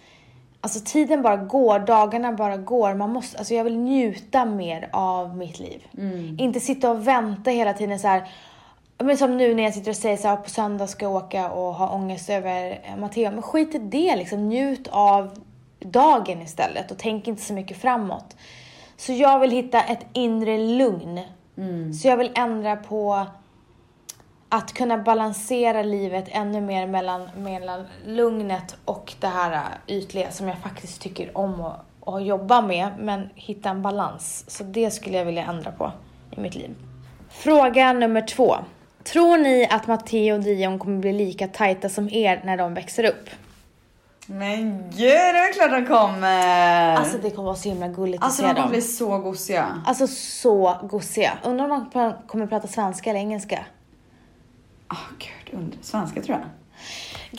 Speaker 2: alltså tiden bara går, dagarna bara går. Man måste, alltså jag vill njuta mer av mitt liv.
Speaker 1: Mm.
Speaker 2: Inte sitta och vänta hela tiden så här. Men som nu när jag sitter och säger så här, på söndag ska jag åka och ha ångest över eh, Matteo. Men skit i det liksom, njut av dagen istället och tänk inte så mycket framåt. Så jag vill hitta ett inre lugn. Så jag vill ändra på att kunna balansera livet ännu mer mellan, mellan lugnet och det här äh, ytliga som jag faktiskt tycker om att, att jobba med, men hitta en balans. Så det skulle jag vilja ändra på i mitt liv. Fråga nummer två. Tror ni att Matteo och Dion kommer bli lika tajta som er när de växer upp?
Speaker 1: Men gud, det är klart de kommer!
Speaker 2: Alltså det kommer vara så himla gulligt
Speaker 1: Alltså
Speaker 2: att se
Speaker 1: de kommer
Speaker 2: dem.
Speaker 1: bli så gosiga.
Speaker 2: Alltså så gosiga. Undrar om de pr- kommer prata svenska eller engelska?
Speaker 1: Ah gud, undrar. Svenska tror jag.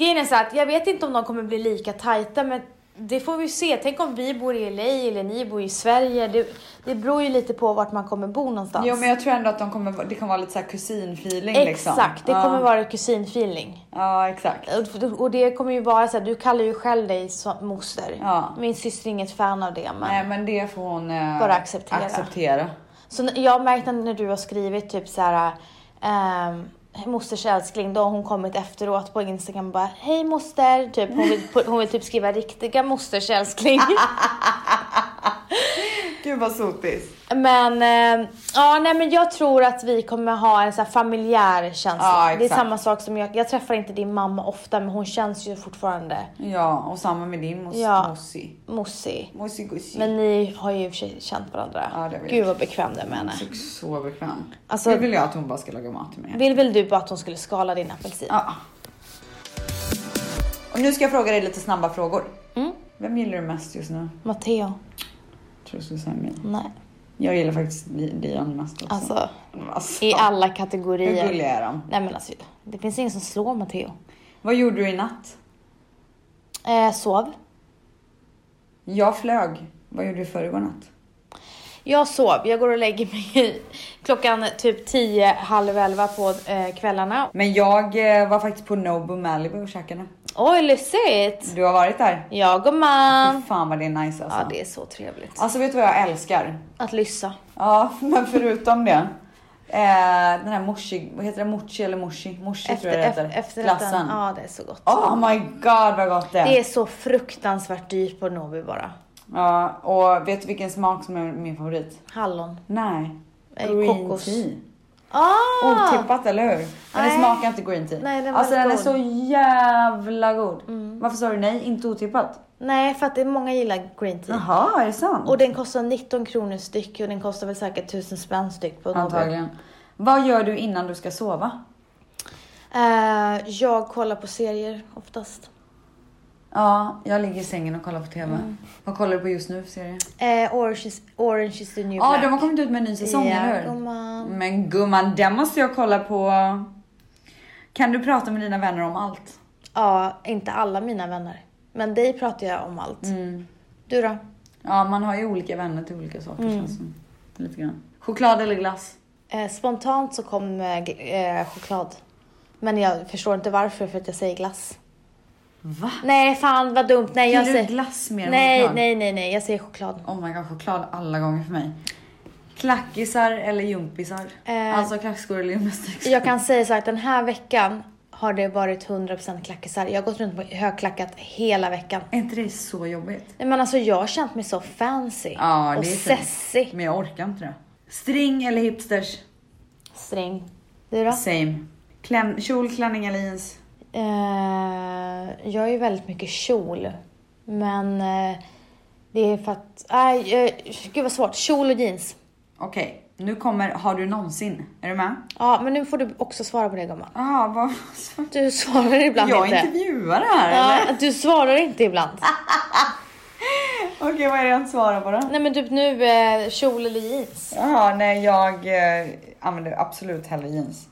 Speaker 2: Grejen är så att jag vet inte om de kommer bli lika tajta, men det får vi se. Tänk om vi bor i LA eller ni bor i Sverige. Det, det beror ju lite på vart man kommer bo någonstans.
Speaker 1: Jo men jag tror ändå att de kommer, det kommer vara lite såhär kusinfeeling liksom.
Speaker 2: Exakt, det
Speaker 1: Ja.
Speaker 2: kommer vara kusinfeeling.
Speaker 1: Ja exakt.
Speaker 2: Och- Och det kommer ju vara så här, du kallar ju själv dig så- moster.
Speaker 1: Ja.
Speaker 2: Min syster är inget fan av det. Men...
Speaker 1: Nej men det får hon eh,
Speaker 2: Bara acceptera.
Speaker 1: acceptera.
Speaker 2: Så n- jag har märkt att när du har skrivit typ så här. ehm, mosters älskling, då har hon kommit efteråt på Instagram och bara hej moster, typ, hon, vill, hon vill typ skriva riktiga mosters älskling.
Speaker 1: [LAUGHS] Gud vad sotis.
Speaker 2: Men, eh, ja, nej, men jag tror att vi kommer ha en så här familjär känsla.
Speaker 1: Ja,
Speaker 2: det är
Speaker 1: exakt.
Speaker 2: samma sak som jag, jag träffar inte din mamma ofta men hon känns ju fortfarande
Speaker 1: Ja och samma med din mos-
Speaker 2: Ja.
Speaker 1: mossi.
Speaker 2: mossig.
Speaker 1: Mossi gussi.
Speaker 2: Men ni har ju i och för sig känt varandra.
Speaker 1: Ja, det vet
Speaker 2: Gud vad bekväm du är med henne.
Speaker 1: Så, så bekväm.
Speaker 2: Alltså-
Speaker 1: Nu vill jag att hon bara ska laga mat till mig.
Speaker 2: Vill väl du bara att hon skulle skala din apelsin?
Speaker 1: Ja. Och nu ska jag fråga dig lite snabba frågor.
Speaker 2: Mm.
Speaker 1: Vem gillar du mest just nu?
Speaker 2: Matteo?
Speaker 1: Jag tror du skulle säga mig.
Speaker 2: Nej.
Speaker 1: Jag gillar faktiskt Di- Dion mest också.
Speaker 2: Alltså,
Speaker 1: Alltså,
Speaker 2: i alla
Speaker 1: Hur
Speaker 2: kategorier.
Speaker 1: gulliga är de?
Speaker 2: Nej men alltså, det finns ingen som slår Matteo.
Speaker 1: Vad gjorde du i natt?
Speaker 2: Eh, sov.
Speaker 1: Jag flög. Vad gjorde du i förrgår natt?
Speaker 2: Jag sov. Jag går och lägger mig klockan typ 10, halv 11 på eh, kvällarna.
Speaker 1: Men jag eh, var faktiskt på Nobu Malibu och käkade.
Speaker 2: Oj, lyssigt!
Speaker 1: Du har varit där?
Speaker 2: Ja, gumman!
Speaker 1: Fy fan vad det är nice alltså.
Speaker 2: Ja, det är så trevligt.
Speaker 1: Alltså vet du vad jag älskar?
Speaker 2: Att lyssa.
Speaker 1: Ja, [LAUGHS] men förutom det. Eh, den här mochi, vad heter det? Mochi eller mochi? Mochi tror jag det heter.
Speaker 2: efterrätten.
Speaker 1: Glassen.
Speaker 2: Ja, det är så gott.
Speaker 1: Oh my god vad gott det är.
Speaker 2: Det är så fruktansvärt dyrt på Nobi bara.
Speaker 1: Ja, och vet du vilken smak som är min favorit?
Speaker 2: Hallon.
Speaker 1: Nej.
Speaker 2: Eh, kokos.
Speaker 1: tea.
Speaker 2: Ah!
Speaker 1: Otippat eller hur? Men det
Speaker 2: Nej.
Speaker 1: smakar inte green tea.
Speaker 2: Nej, den var
Speaker 1: alltså den är Mm.
Speaker 2: god.
Speaker 1: så jävla god. Varför sa du nej? Inte otippat?
Speaker 2: Nej, för att det är många gillar green tea.
Speaker 1: Jaha, är det sant?
Speaker 2: Typ. Och den kostar 19 kronor styck och den kostar väl säkert 1000 spänn styck på Nobi.
Speaker 1: Antagligen. Vad gör du innan du ska sova?
Speaker 2: Eh, jag kollar på serier oftast.
Speaker 1: Ja, jag ligger i sängen och kollar på TV.
Speaker 2: Mm.
Speaker 1: Vad kollar du på just nu för serie?
Speaker 2: Eh, Orange, is, Orange is the new
Speaker 1: Ja,
Speaker 2: black.
Speaker 1: de har kommit ut med en ny säsong,
Speaker 2: Ja,
Speaker 1: eller hur?
Speaker 2: gumman.
Speaker 1: Men gumman, den måste jag kolla på. Kan du prata med dina vänner om allt?
Speaker 2: Ja, inte alla mina vänner. Men dig pratar jag om allt.
Speaker 1: Mm.
Speaker 2: Du då?
Speaker 1: Ja, man har ju olika vänner till olika saker
Speaker 2: Mm.
Speaker 1: känns som. Lite grann. Choklad eller glass?
Speaker 2: Eh, spontant så kom eh, gl- eh, choklad. Men jag förstår inte varför, för att jag säger glass.
Speaker 1: Va?
Speaker 2: Nej, fan vad dumt. Nej, jag
Speaker 1: Gillar du
Speaker 2: säger...
Speaker 1: glass mer än
Speaker 2: Nej,
Speaker 1: choklad?
Speaker 2: nej, nej, nej, jag säger choklad.
Speaker 1: Oh my god, choklad alla gånger för mig. Klackisar eller jumpisar?
Speaker 2: Eh.
Speaker 1: Alltså klackskor eller gymnastikskor?
Speaker 2: Jag kan säga så här att den här veckan har det varit 100% klackisar. Jag har gått runt med högklackat hela veckan.
Speaker 1: Är inte det så jobbigt?
Speaker 2: Nej men alltså jag har känt mig så fancy
Speaker 1: Ja, det
Speaker 2: och
Speaker 1: är
Speaker 2: sessig.
Speaker 1: Men jag orkar inte det. String eller hipsters? Mm.
Speaker 2: Sträng. Du då?
Speaker 1: Same. Klän, kjol, klänning eller jeans?
Speaker 2: Eh, jag är ju väldigt mycket kjol. Men eh, det är för att... Nej, eh, gud vad svårt. Kjol och jeans.
Speaker 1: Okej, nu kommer Har du någonsin? Är du med?
Speaker 2: Ja, men nu får du också svara på det gumman.
Speaker 1: Ah, vad...
Speaker 2: Du svarar ibland
Speaker 1: Jag
Speaker 2: inte.
Speaker 1: intervjuar här eller?
Speaker 2: Ja, du svarar inte ibland.
Speaker 1: Okej, vad är det jag inte svarar på då?
Speaker 2: Nej men typ nu, eh, kjol eller jeans.
Speaker 1: Jaha, nej jag eh, använder absolut hellre jeans.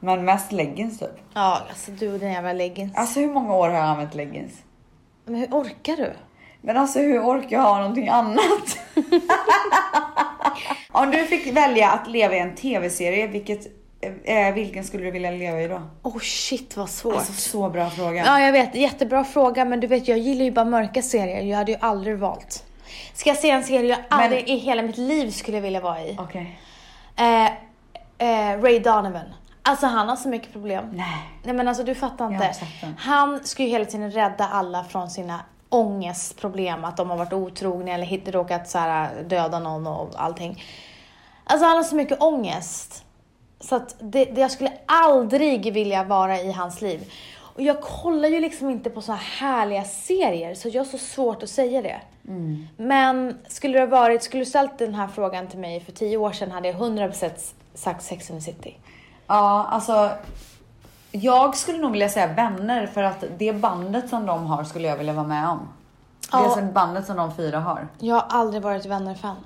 Speaker 1: Men mest leggings typ.
Speaker 2: Ja, alltså du och dina jävla leggings.
Speaker 1: Alltså hur många år har jag använt leggings?
Speaker 2: Men hur orkar du?
Speaker 1: Men alltså hur orkar jag ha någonting
Speaker 2: [LAUGHS]
Speaker 1: annat? Om du fick välja att leva i en tv-serie, vilket, eh, vilken skulle du vilja leva i då?
Speaker 2: Oh shit vad svårt.
Speaker 1: Alltså så bra fråga.
Speaker 2: Ja, jag vet. Jättebra fråga, men du vet, jag gillar ju bara mörka serier. Jag hade ju aldrig valt. Ska jag se en serie jag aldrig i hela mitt liv skulle vilja vara i?
Speaker 1: Okej.
Speaker 2: Eh, eh, Ray Donovan. Alltså han har så mycket problem.
Speaker 1: Nej.
Speaker 2: Nej men alltså du fattar
Speaker 1: har
Speaker 2: inte.
Speaker 1: inte sett den.
Speaker 2: Han ska ju hela tiden rädda alla från sina ångestproblem, att de har varit otrogna eller hit- råkat så här, döda någon och allting. Alltså han har så mycket ångest. Så att det, det, jag skulle aldrig vilja vara i hans liv. Och jag kollar ju liksom inte på så här härliga serier, så jag har så svårt att säga det. Men skulle det ha varit, skulle du ställt den här frågan till mig för tio år sedan hade jag 100% sagt Sex and the City.
Speaker 1: Ja, alltså. Jag skulle nog vilja säga vänner för att det bandet som de har skulle jag vilja vara med om.
Speaker 2: Ja.
Speaker 1: Det är som bandet som de fyra har.
Speaker 2: Jag har aldrig varit vänner-fan.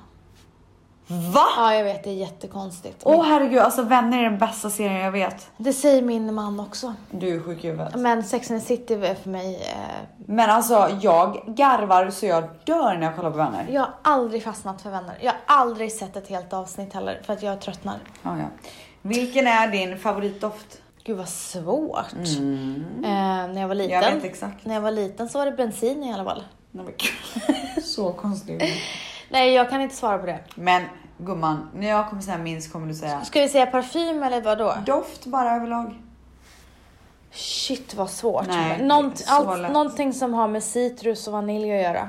Speaker 1: Va?
Speaker 2: Ja, jag vet. Det är jättekonstigt.
Speaker 1: Åh herregud, alltså vänner är den bästa serien jag vet.
Speaker 2: Det säger min man också.
Speaker 1: Du är sjuk i huvudet.
Speaker 2: Men Sex and the City är för mig... Eh,
Speaker 1: Men alltså jag garvar så jag dör när jag kollar på vänner.
Speaker 2: jag har aldrig fastnat för vänner. Jag har aldrig sett ett helt avsnitt heller för att jag tröttnar.
Speaker 1: Ja, ja. Vilken är din favoritdoft?
Speaker 2: Gud vad svårt.
Speaker 1: Mm.
Speaker 2: Eh, när jag var liten.
Speaker 1: Jag vet exakt.
Speaker 2: När jag var liten så var det bensin i alla fall.
Speaker 1: Nej, men
Speaker 2: [LAUGHS]
Speaker 1: gud. så konstigt.
Speaker 2: Nej, jag kan inte svara på det.
Speaker 1: Men gumman, när jag kommer säga minst kommer du säga
Speaker 2: Ska vi säga parfym eller vad då?
Speaker 1: doft bara överlag.
Speaker 2: Shit vad svårt.
Speaker 1: Nej,
Speaker 2: Nånt,
Speaker 1: så
Speaker 2: allt,
Speaker 1: lätt.
Speaker 2: någonting som har med citrus och vanilj att göra.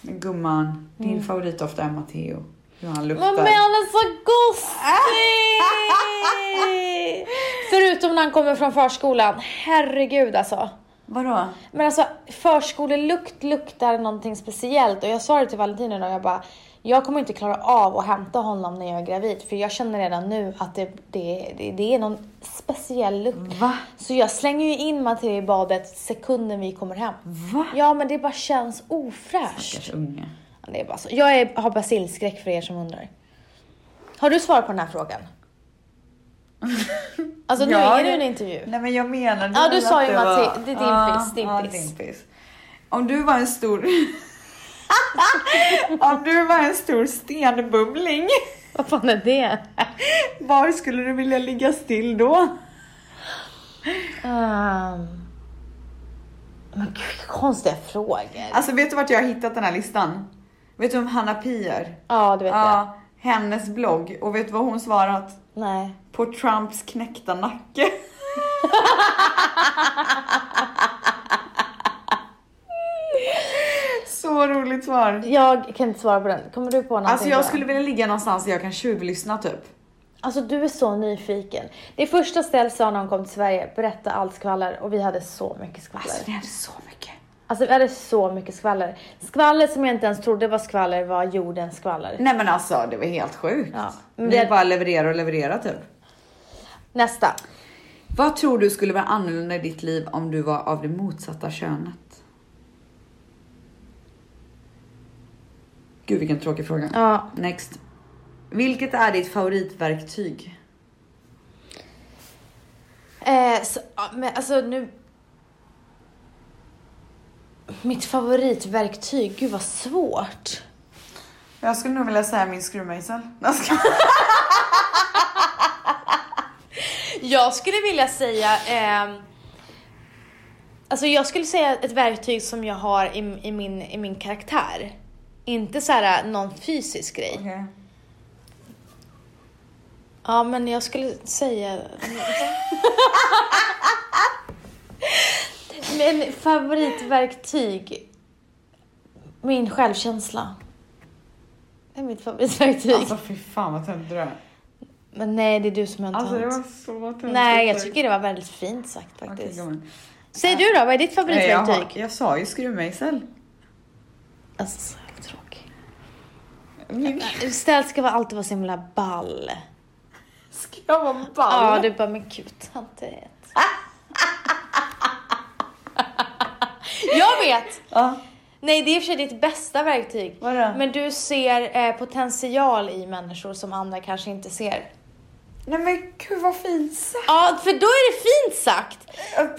Speaker 1: Men gumman, din
Speaker 2: Mm.
Speaker 1: favoritdoft är Matteo. Hur han luktar.
Speaker 2: Men han är så gosig! Förutom när han kommer från förskolan. Herregud alltså.
Speaker 1: [LAUGHS] Vadå?
Speaker 2: Men alltså förskolelukt luktar någonting speciellt och jag sa det till Valentin idag, jag bara jag kommer inte klara av att hämta honom när jag är gravid för jag känner redan nu att det, det, det, det är någon speciell lukt.
Speaker 1: Va?
Speaker 2: Så jag slänger ju in Matteo i badet sekunden vi kommer hem.
Speaker 1: Va?
Speaker 2: Ja men det bara känns ofräscht.
Speaker 1: Stackars unge.
Speaker 2: Ja, Det är bara så. Jag är, har basilskräck för er som undrar. Har du svar på den här
Speaker 1: [LAUGHS]
Speaker 2: frågan? Alltså nu
Speaker 1: Ja,
Speaker 2: är det
Speaker 1: det-
Speaker 2: en intervju.
Speaker 1: Nej men jag menade
Speaker 2: Ja, du
Speaker 1: väl
Speaker 2: sa
Speaker 1: att
Speaker 2: ju
Speaker 1: det
Speaker 2: Matti-
Speaker 1: var-
Speaker 2: det är din
Speaker 1: Ja,
Speaker 2: piss, din
Speaker 1: ja,
Speaker 2: piss.
Speaker 1: din piss. Om du var en stor... [LAUGHS] Om du var en stor stenbumling,
Speaker 2: Vad fan är det?
Speaker 1: var skulle du vilja ligga still då?
Speaker 2: Ehm. Men gud, konstiga frågor.
Speaker 1: Alltså vet du vart jag har hittat den här listan? Vet du om Hanna Pi är?
Speaker 2: Ja, du vet det.
Speaker 1: Ja, hennes blogg. Och vet du vad hon svarat?
Speaker 2: Nej.
Speaker 1: På Trumps knäckta nacke. [LAUGHS] Så roligt svar.
Speaker 2: Jag kan inte svara på den. Kommer du på någonting?
Speaker 1: Alltså jag
Speaker 2: bra?
Speaker 1: skulle vilja ligga någonstans där jag kan tjuvlyssna typ.
Speaker 2: alltså du är så nyfiken. Det första Stell sa när hon kom till Sverige, berätta allt skvaller. Och vi hade så mycket skvaller.
Speaker 1: Alltså det är så mycket.
Speaker 2: Alltså vi hade så mycket skvaller. Skvaller som jag inte ens trodde var skvaller var jordens skvaller.
Speaker 1: Nej men alltså det var helt sjukt.
Speaker 2: Ja, men
Speaker 1: Vi
Speaker 2: det-
Speaker 1: bara leverera och leverera typ.
Speaker 2: Nästa.
Speaker 1: Vad tror du skulle vara annorlunda i ditt liv om du var av det motsatta könet? Gud vilken tråkig fråga.
Speaker 2: Ja,
Speaker 1: Next. Vilket är ditt favoritverktyg?
Speaker 2: Eh, så, ja, men alltså nu... Mitt favoritverktyg, gud vad svårt.
Speaker 1: Jag skulle nog vilja säga min skruvmejsel. [LAUGHS]
Speaker 2: Jag skulle vilja säga... ehm, alltså jag skulle säga ett verktyg som jag har i, i, min, i min karaktär. Inte så här äh, någon fysisk grej.
Speaker 1: Okej.
Speaker 2: Ja men jag skulle säga... [LAUGHS] Men favoritverktyg. Min självkänsla. Det är mitt favoritverktyg.
Speaker 1: Alltså fy fan vad töntig du är.
Speaker 2: Men nej, det är du som är en
Speaker 1: Alltså det
Speaker 2: tönt.
Speaker 1: var så töntigt.
Speaker 2: Nej, jag
Speaker 1: sagt.
Speaker 2: tycker det var väldigt fint sagt
Speaker 1: Okej,
Speaker 2: faktiskt.
Speaker 1: gumman.
Speaker 2: Säg du då, vad är ditt
Speaker 1: Nej, jag, har,
Speaker 2: favoritverktyg?
Speaker 1: jag sa ju skruvmejsel.
Speaker 2: Alltså, så jävla tråkig. [LAUGHS]
Speaker 1: Min
Speaker 2: Stället ska vara alltid vara så himla ball.
Speaker 1: ska jag vara ball?
Speaker 2: Ja, du bara, men gud, tantet. [LAUGHS] jag vet!
Speaker 1: Ja,
Speaker 2: Nej, det är i och för sig ditt bästa verktyg.
Speaker 1: vadå?
Speaker 2: Men du ser eh, potential i människor som andra kanske inte ser.
Speaker 1: Nej men gud vad fint sagt.
Speaker 2: Ja, för då är det fint sagt.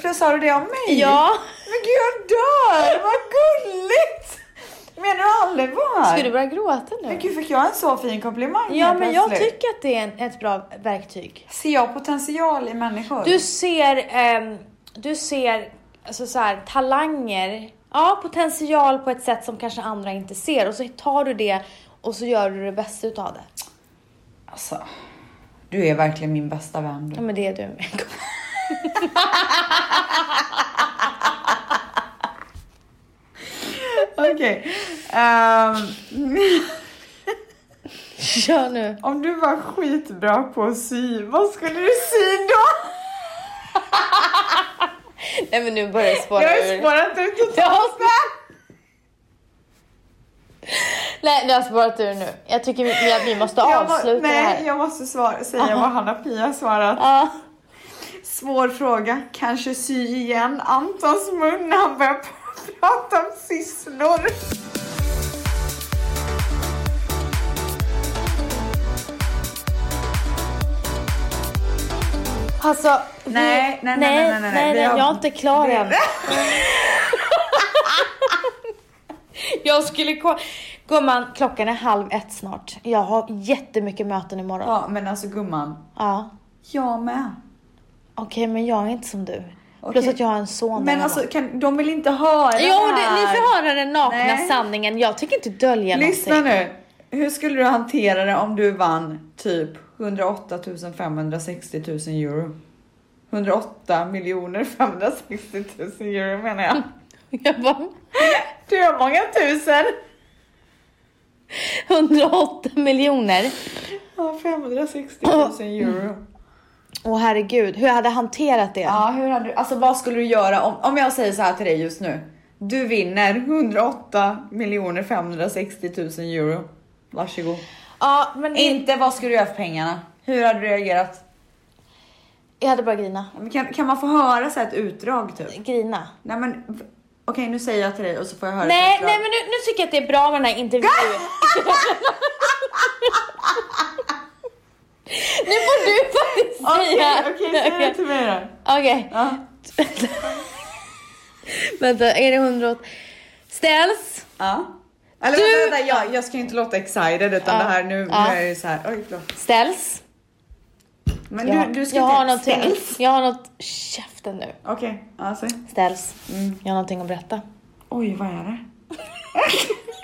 Speaker 1: Plus sa du det om mig?
Speaker 2: Ja.
Speaker 1: Men gud jag dör, vad gulligt! Menar du allvar?
Speaker 2: Ska du börja gråta
Speaker 1: Men
Speaker 2: nu?
Speaker 1: gud fick jag en så fin komplimang
Speaker 2: Ja,
Speaker 1: här
Speaker 2: men jag
Speaker 1: plötsligt?
Speaker 2: tycker att det är en, ett bra verktyg.
Speaker 1: Ser jag potential i människor?
Speaker 2: Du ser, ehm, du ser alltså så här, talanger, ja, potential på ett sätt som kanske andra inte ser och så tar du det och så gör du det bästa utav det.
Speaker 1: Alltså, du är verkligen min bästa vän.
Speaker 2: Ja,
Speaker 1: Du.
Speaker 2: men det är du med.
Speaker 1: Okej. Ehm,
Speaker 2: [LAUGHS] Kör nu.
Speaker 1: om du var skitbra på att sy, vad skulle du sy då?
Speaker 2: Nej, men nu börjar det
Speaker 1: Jag
Speaker 2: spåra
Speaker 1: har ju
Speaker 2: ur.
Speaker 1: spårat ut
Speaker 2: Jag har
Speaker 1: totalt.
Speaker 2: Nej, det har spårat ur nu. Jag tycker vi, att vi måste
Speaker 1: Jag må-
Speaker 2: avsluta det
Speaker 1: Nej,
Speaker 2: här.
Speaker 1: jag måste svara, säga vad Hanna-Pia har svarat.
Speaker 2: Ja.
Speaker 1: Svår fråga, kanske sy igen Antons mun när han börjar p- prata om sysslor.
Speaker 2: Alltså, vi,
Speaker 1: Nej, nej, nej, nej, nej, nej,
Speaker 2: nej,
Speaker 1: vi har-
Speaker 2: jag är inte klar
Speaker 1: vi-
Speaker 2: än. [LAUGHS] jag skulle gå... Gumman, klockan är halv ett snart. Jag har jättemycket möten imorgon. Ja.
Speaker 1: Ja, men alltså gumman, jag med.
Speaker 2: Okej, men jag är inte som du. Plus
Speaker 1: Okej.
Speaker 2: att jag har en son
Speaker 1: Men
Speaker 2: hemma.
Speaker 1: alltså, kan, de vill inte höra
Speaker 2: Jo, det, ni får höra den nakna
Speaker 1: Nej.
Speaker 2: sanningen. Jag tänker inte dölja
Speaker 1: Lyssna
Speaker 2: någonting.
Speaker 1: nu. Hur skulle du hantera det om du vann typ 108 560 000 euro? 108 miljoner 560 000 euro menar [LAUGHS] jag.
Speaker 2: [LAUGHS] Jag bara,
Speaker 1: Du har många tusen.
Speaker 2: 108 miljoner.
Speaker 1: Ja, 560 000 euro.
Speaker 2: Åh herregud, hur jag hade hanterat det.
Speaker 1: Ja, hur hade du, alltså vad skulle du göra om, om jag säger så här till dig just nu. Du vinner 108 miljoner 560 000 euro. Varsågod.
Speaker 2: Ja, men
Speaker 1: Inte vad skulle du göra för pengarna? Hur hade du reagerat?
Speaker 2: jag hade bara grina.
Speaker 1: Men Kan, kan man få höra så här ett utdrag typ?
Speaker 2: Grina.
Speaker 1: Nej men v- okej nu säger jag till dig och så får jag höra
Speaker 2: Nej,
Speaker 1: ett utdrag.
Speaker 2: nej men nu, nu tycker jag att det är bra med den här
Speaker 1: [LAUGHS]
Speaker 2: intervjun. nu får du faktiskt säga.
Speaker 1: Okej, okej, säg det till mig då.
Speaker 2: Okej.
Speaker 1: Ja.
Speaker 2: Vänta, är det 108? Ställs.
Speaker 1: ja. Eller
Speaker 2: Du-
Speaker 1: vänta, vänta, jag, jag ska ju inte låta excited utan
Speaker 2: Ja.
Speaker 1: det här nu,
Speaker 2: Ja.
Speaker 1: nu är det så här. Oj, förlåt.
Speaker 2: Ställs.
Speaker 1: Men
Speaker 2: Jag,
Speaker 1: du, du ska
Speaker 2: jag
Speaker 1: inte
Speaker 2: har någonting.
Speaker 1: Ställ.
Speaker 2: Jag har något... Käften nu.
Speaker 1: Okej, ja säg.
Speaker 2: Ställs.
Speaker 1: Mm.
Speaker 2: Jag har någonting att berätta.
Speaker 1: Oj, vad är det?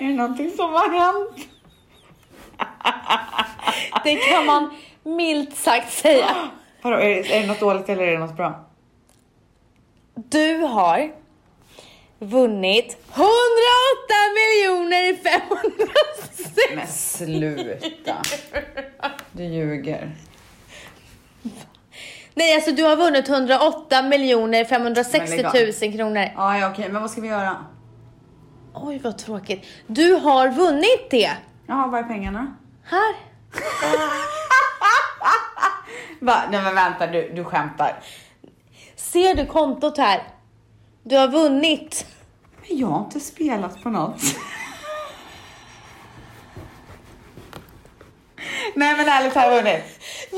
Speaker 1: [LAUGHS] är det någonting som har hänt?
Speaker 2: Det kan man milt sagt säga.
Speaker 1: Vadå, är, det- är det något dåligt eller är det något bra?
Speaker 2: Du har vunnit 108 miljoner 560.
Speaker 1: Men sluta. Du ljuger.
Speaker 2: Nej, alltså du har vunnit 108 miljoner
Speaker 1: Men
Speaker 2: 560
Speaker 1: lägg
Speaker 2: 000 kronor.
Speaker 1: Ja, ja okej, men vad ska vi göra?
Speaker 2: Oj, vad tråkigt. Du har vunnit det.
Speaker 1: Jaha, var är pengarna?
Speaker 2: Här.
Speaker 1: Va? Nej men vänta, du, du skämtar.
Speaker 2: Ser du kontot här? Du har vunnit.
Speaker 1: Men jag har inte spelat på något. Nej men ärligt, har jag vunnit?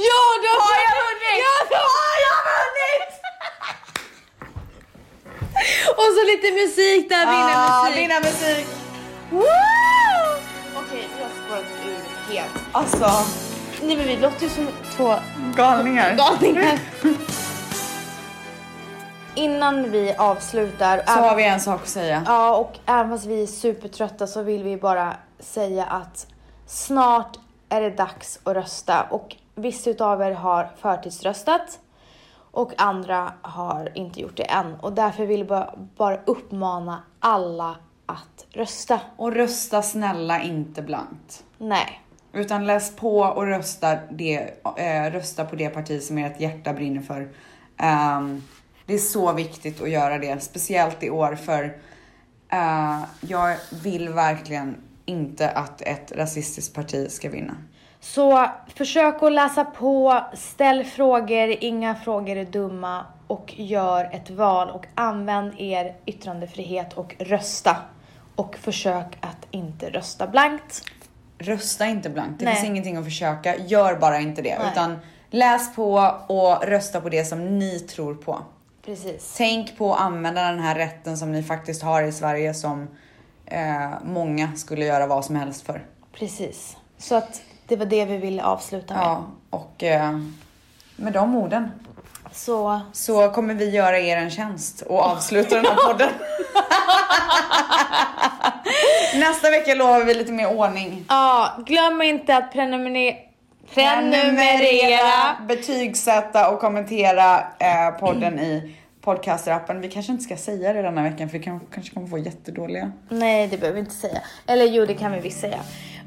Speaker 2: Ja, du har, har jag vunnit! Ja,
Speaker 1: Ah,
Speaker 2: har jag vunnit! Och så lite musik där,
Speaker 1: Ah,
Speaker 2: vinnarmusik.
Speaker 1: vinna musik.
Speaker 2: Woo! Okej, vi har spårat ur helt.
Speaker 1: Alltså,
Speaker 2: Nej men vi låter ju som två
Speaker 1: galningar.
Speaker 2: galningar.
Speaker 1: Eh.
Speaker 2: Innan vi avslutar,
Speaker 1: Så
Speaker 2: även-
Speaker 1: har vi en sak att säga.
Speaker 2: ja, och även fast vi är supertrötta så vill vi bara säga att snart är det dags att rösta. Och vissa utav er har förtidsröstat. och andra har inte gjort det än. Och därför vill jag bara, bara uppmana alla att rösta.
Speaker 1: Och rösta snälla inte blankt.
Speaker 2: Nej.
Speaker 1: Utan läs på och rösta, det, eh, rösta på det parti som ert hjärta brinner för. Ehm, det är så viktigt att göra det, speciellt i år för eh, jag vill verkligen inte att ett rasistiskt parti ska vinna.
Speaker 2: Så försök att läsa på, ställ frågor, inga frågor är dumma och gör ett val och använd er yttrandefrihet och rösta. Och försök att inte rösta blankt.
Speaker 1: Rösta inte blankt, det
Speaker 2: Nej.
Speaker 1: finns ingenting att försöka. Gör bara inte det.
Speaker 2: Nej.
Speaker 1: Utan läs på och rösta på det som ni tror på.
Speaker 2: Precis.
Speaker 1: Tänk på att använda den här rätten som ni faktiskt har i Sverige som eh, många skulle göra vad som helst för.
Speaker 2: Precis. Så att det var det vi ville avsluta med.
Speaker 1: Ja, och eh, med de orden
Speaker 2: Så
Speaker 1: så kommer vi göra er en tjänst och avsluta den här podden. [LAUGHS] Nästa vecka lovar vi lite mer ordning.
Speaker 2: ja, glöm inte att prenumerera prenumerera.
Speaker 1: Prenumerera, betygsätta och kommentera eh, podden i podcasterappen. Vi kanske inte ska säga det denna veckan för vi kan, kanske kommer få jättedåliga.
Speaker 2: Nej, det behöver vi inte säga. Eller jo, det kan vi visst säga.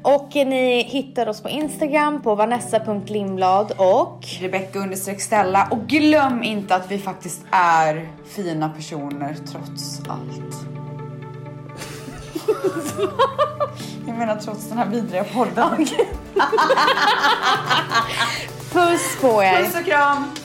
Speaker 2: Och eh, ni hittar oss på Instagram på vanessa.lindblad och
Speaker 1: Rebecka understreck Stella och glöm inte att vi faktiskt är fina personer trots [LAUGHS] allt. Jag menar trots den här vidriga podden.
Speaker 2: puss på er!
Speaker 1: Puss och kram!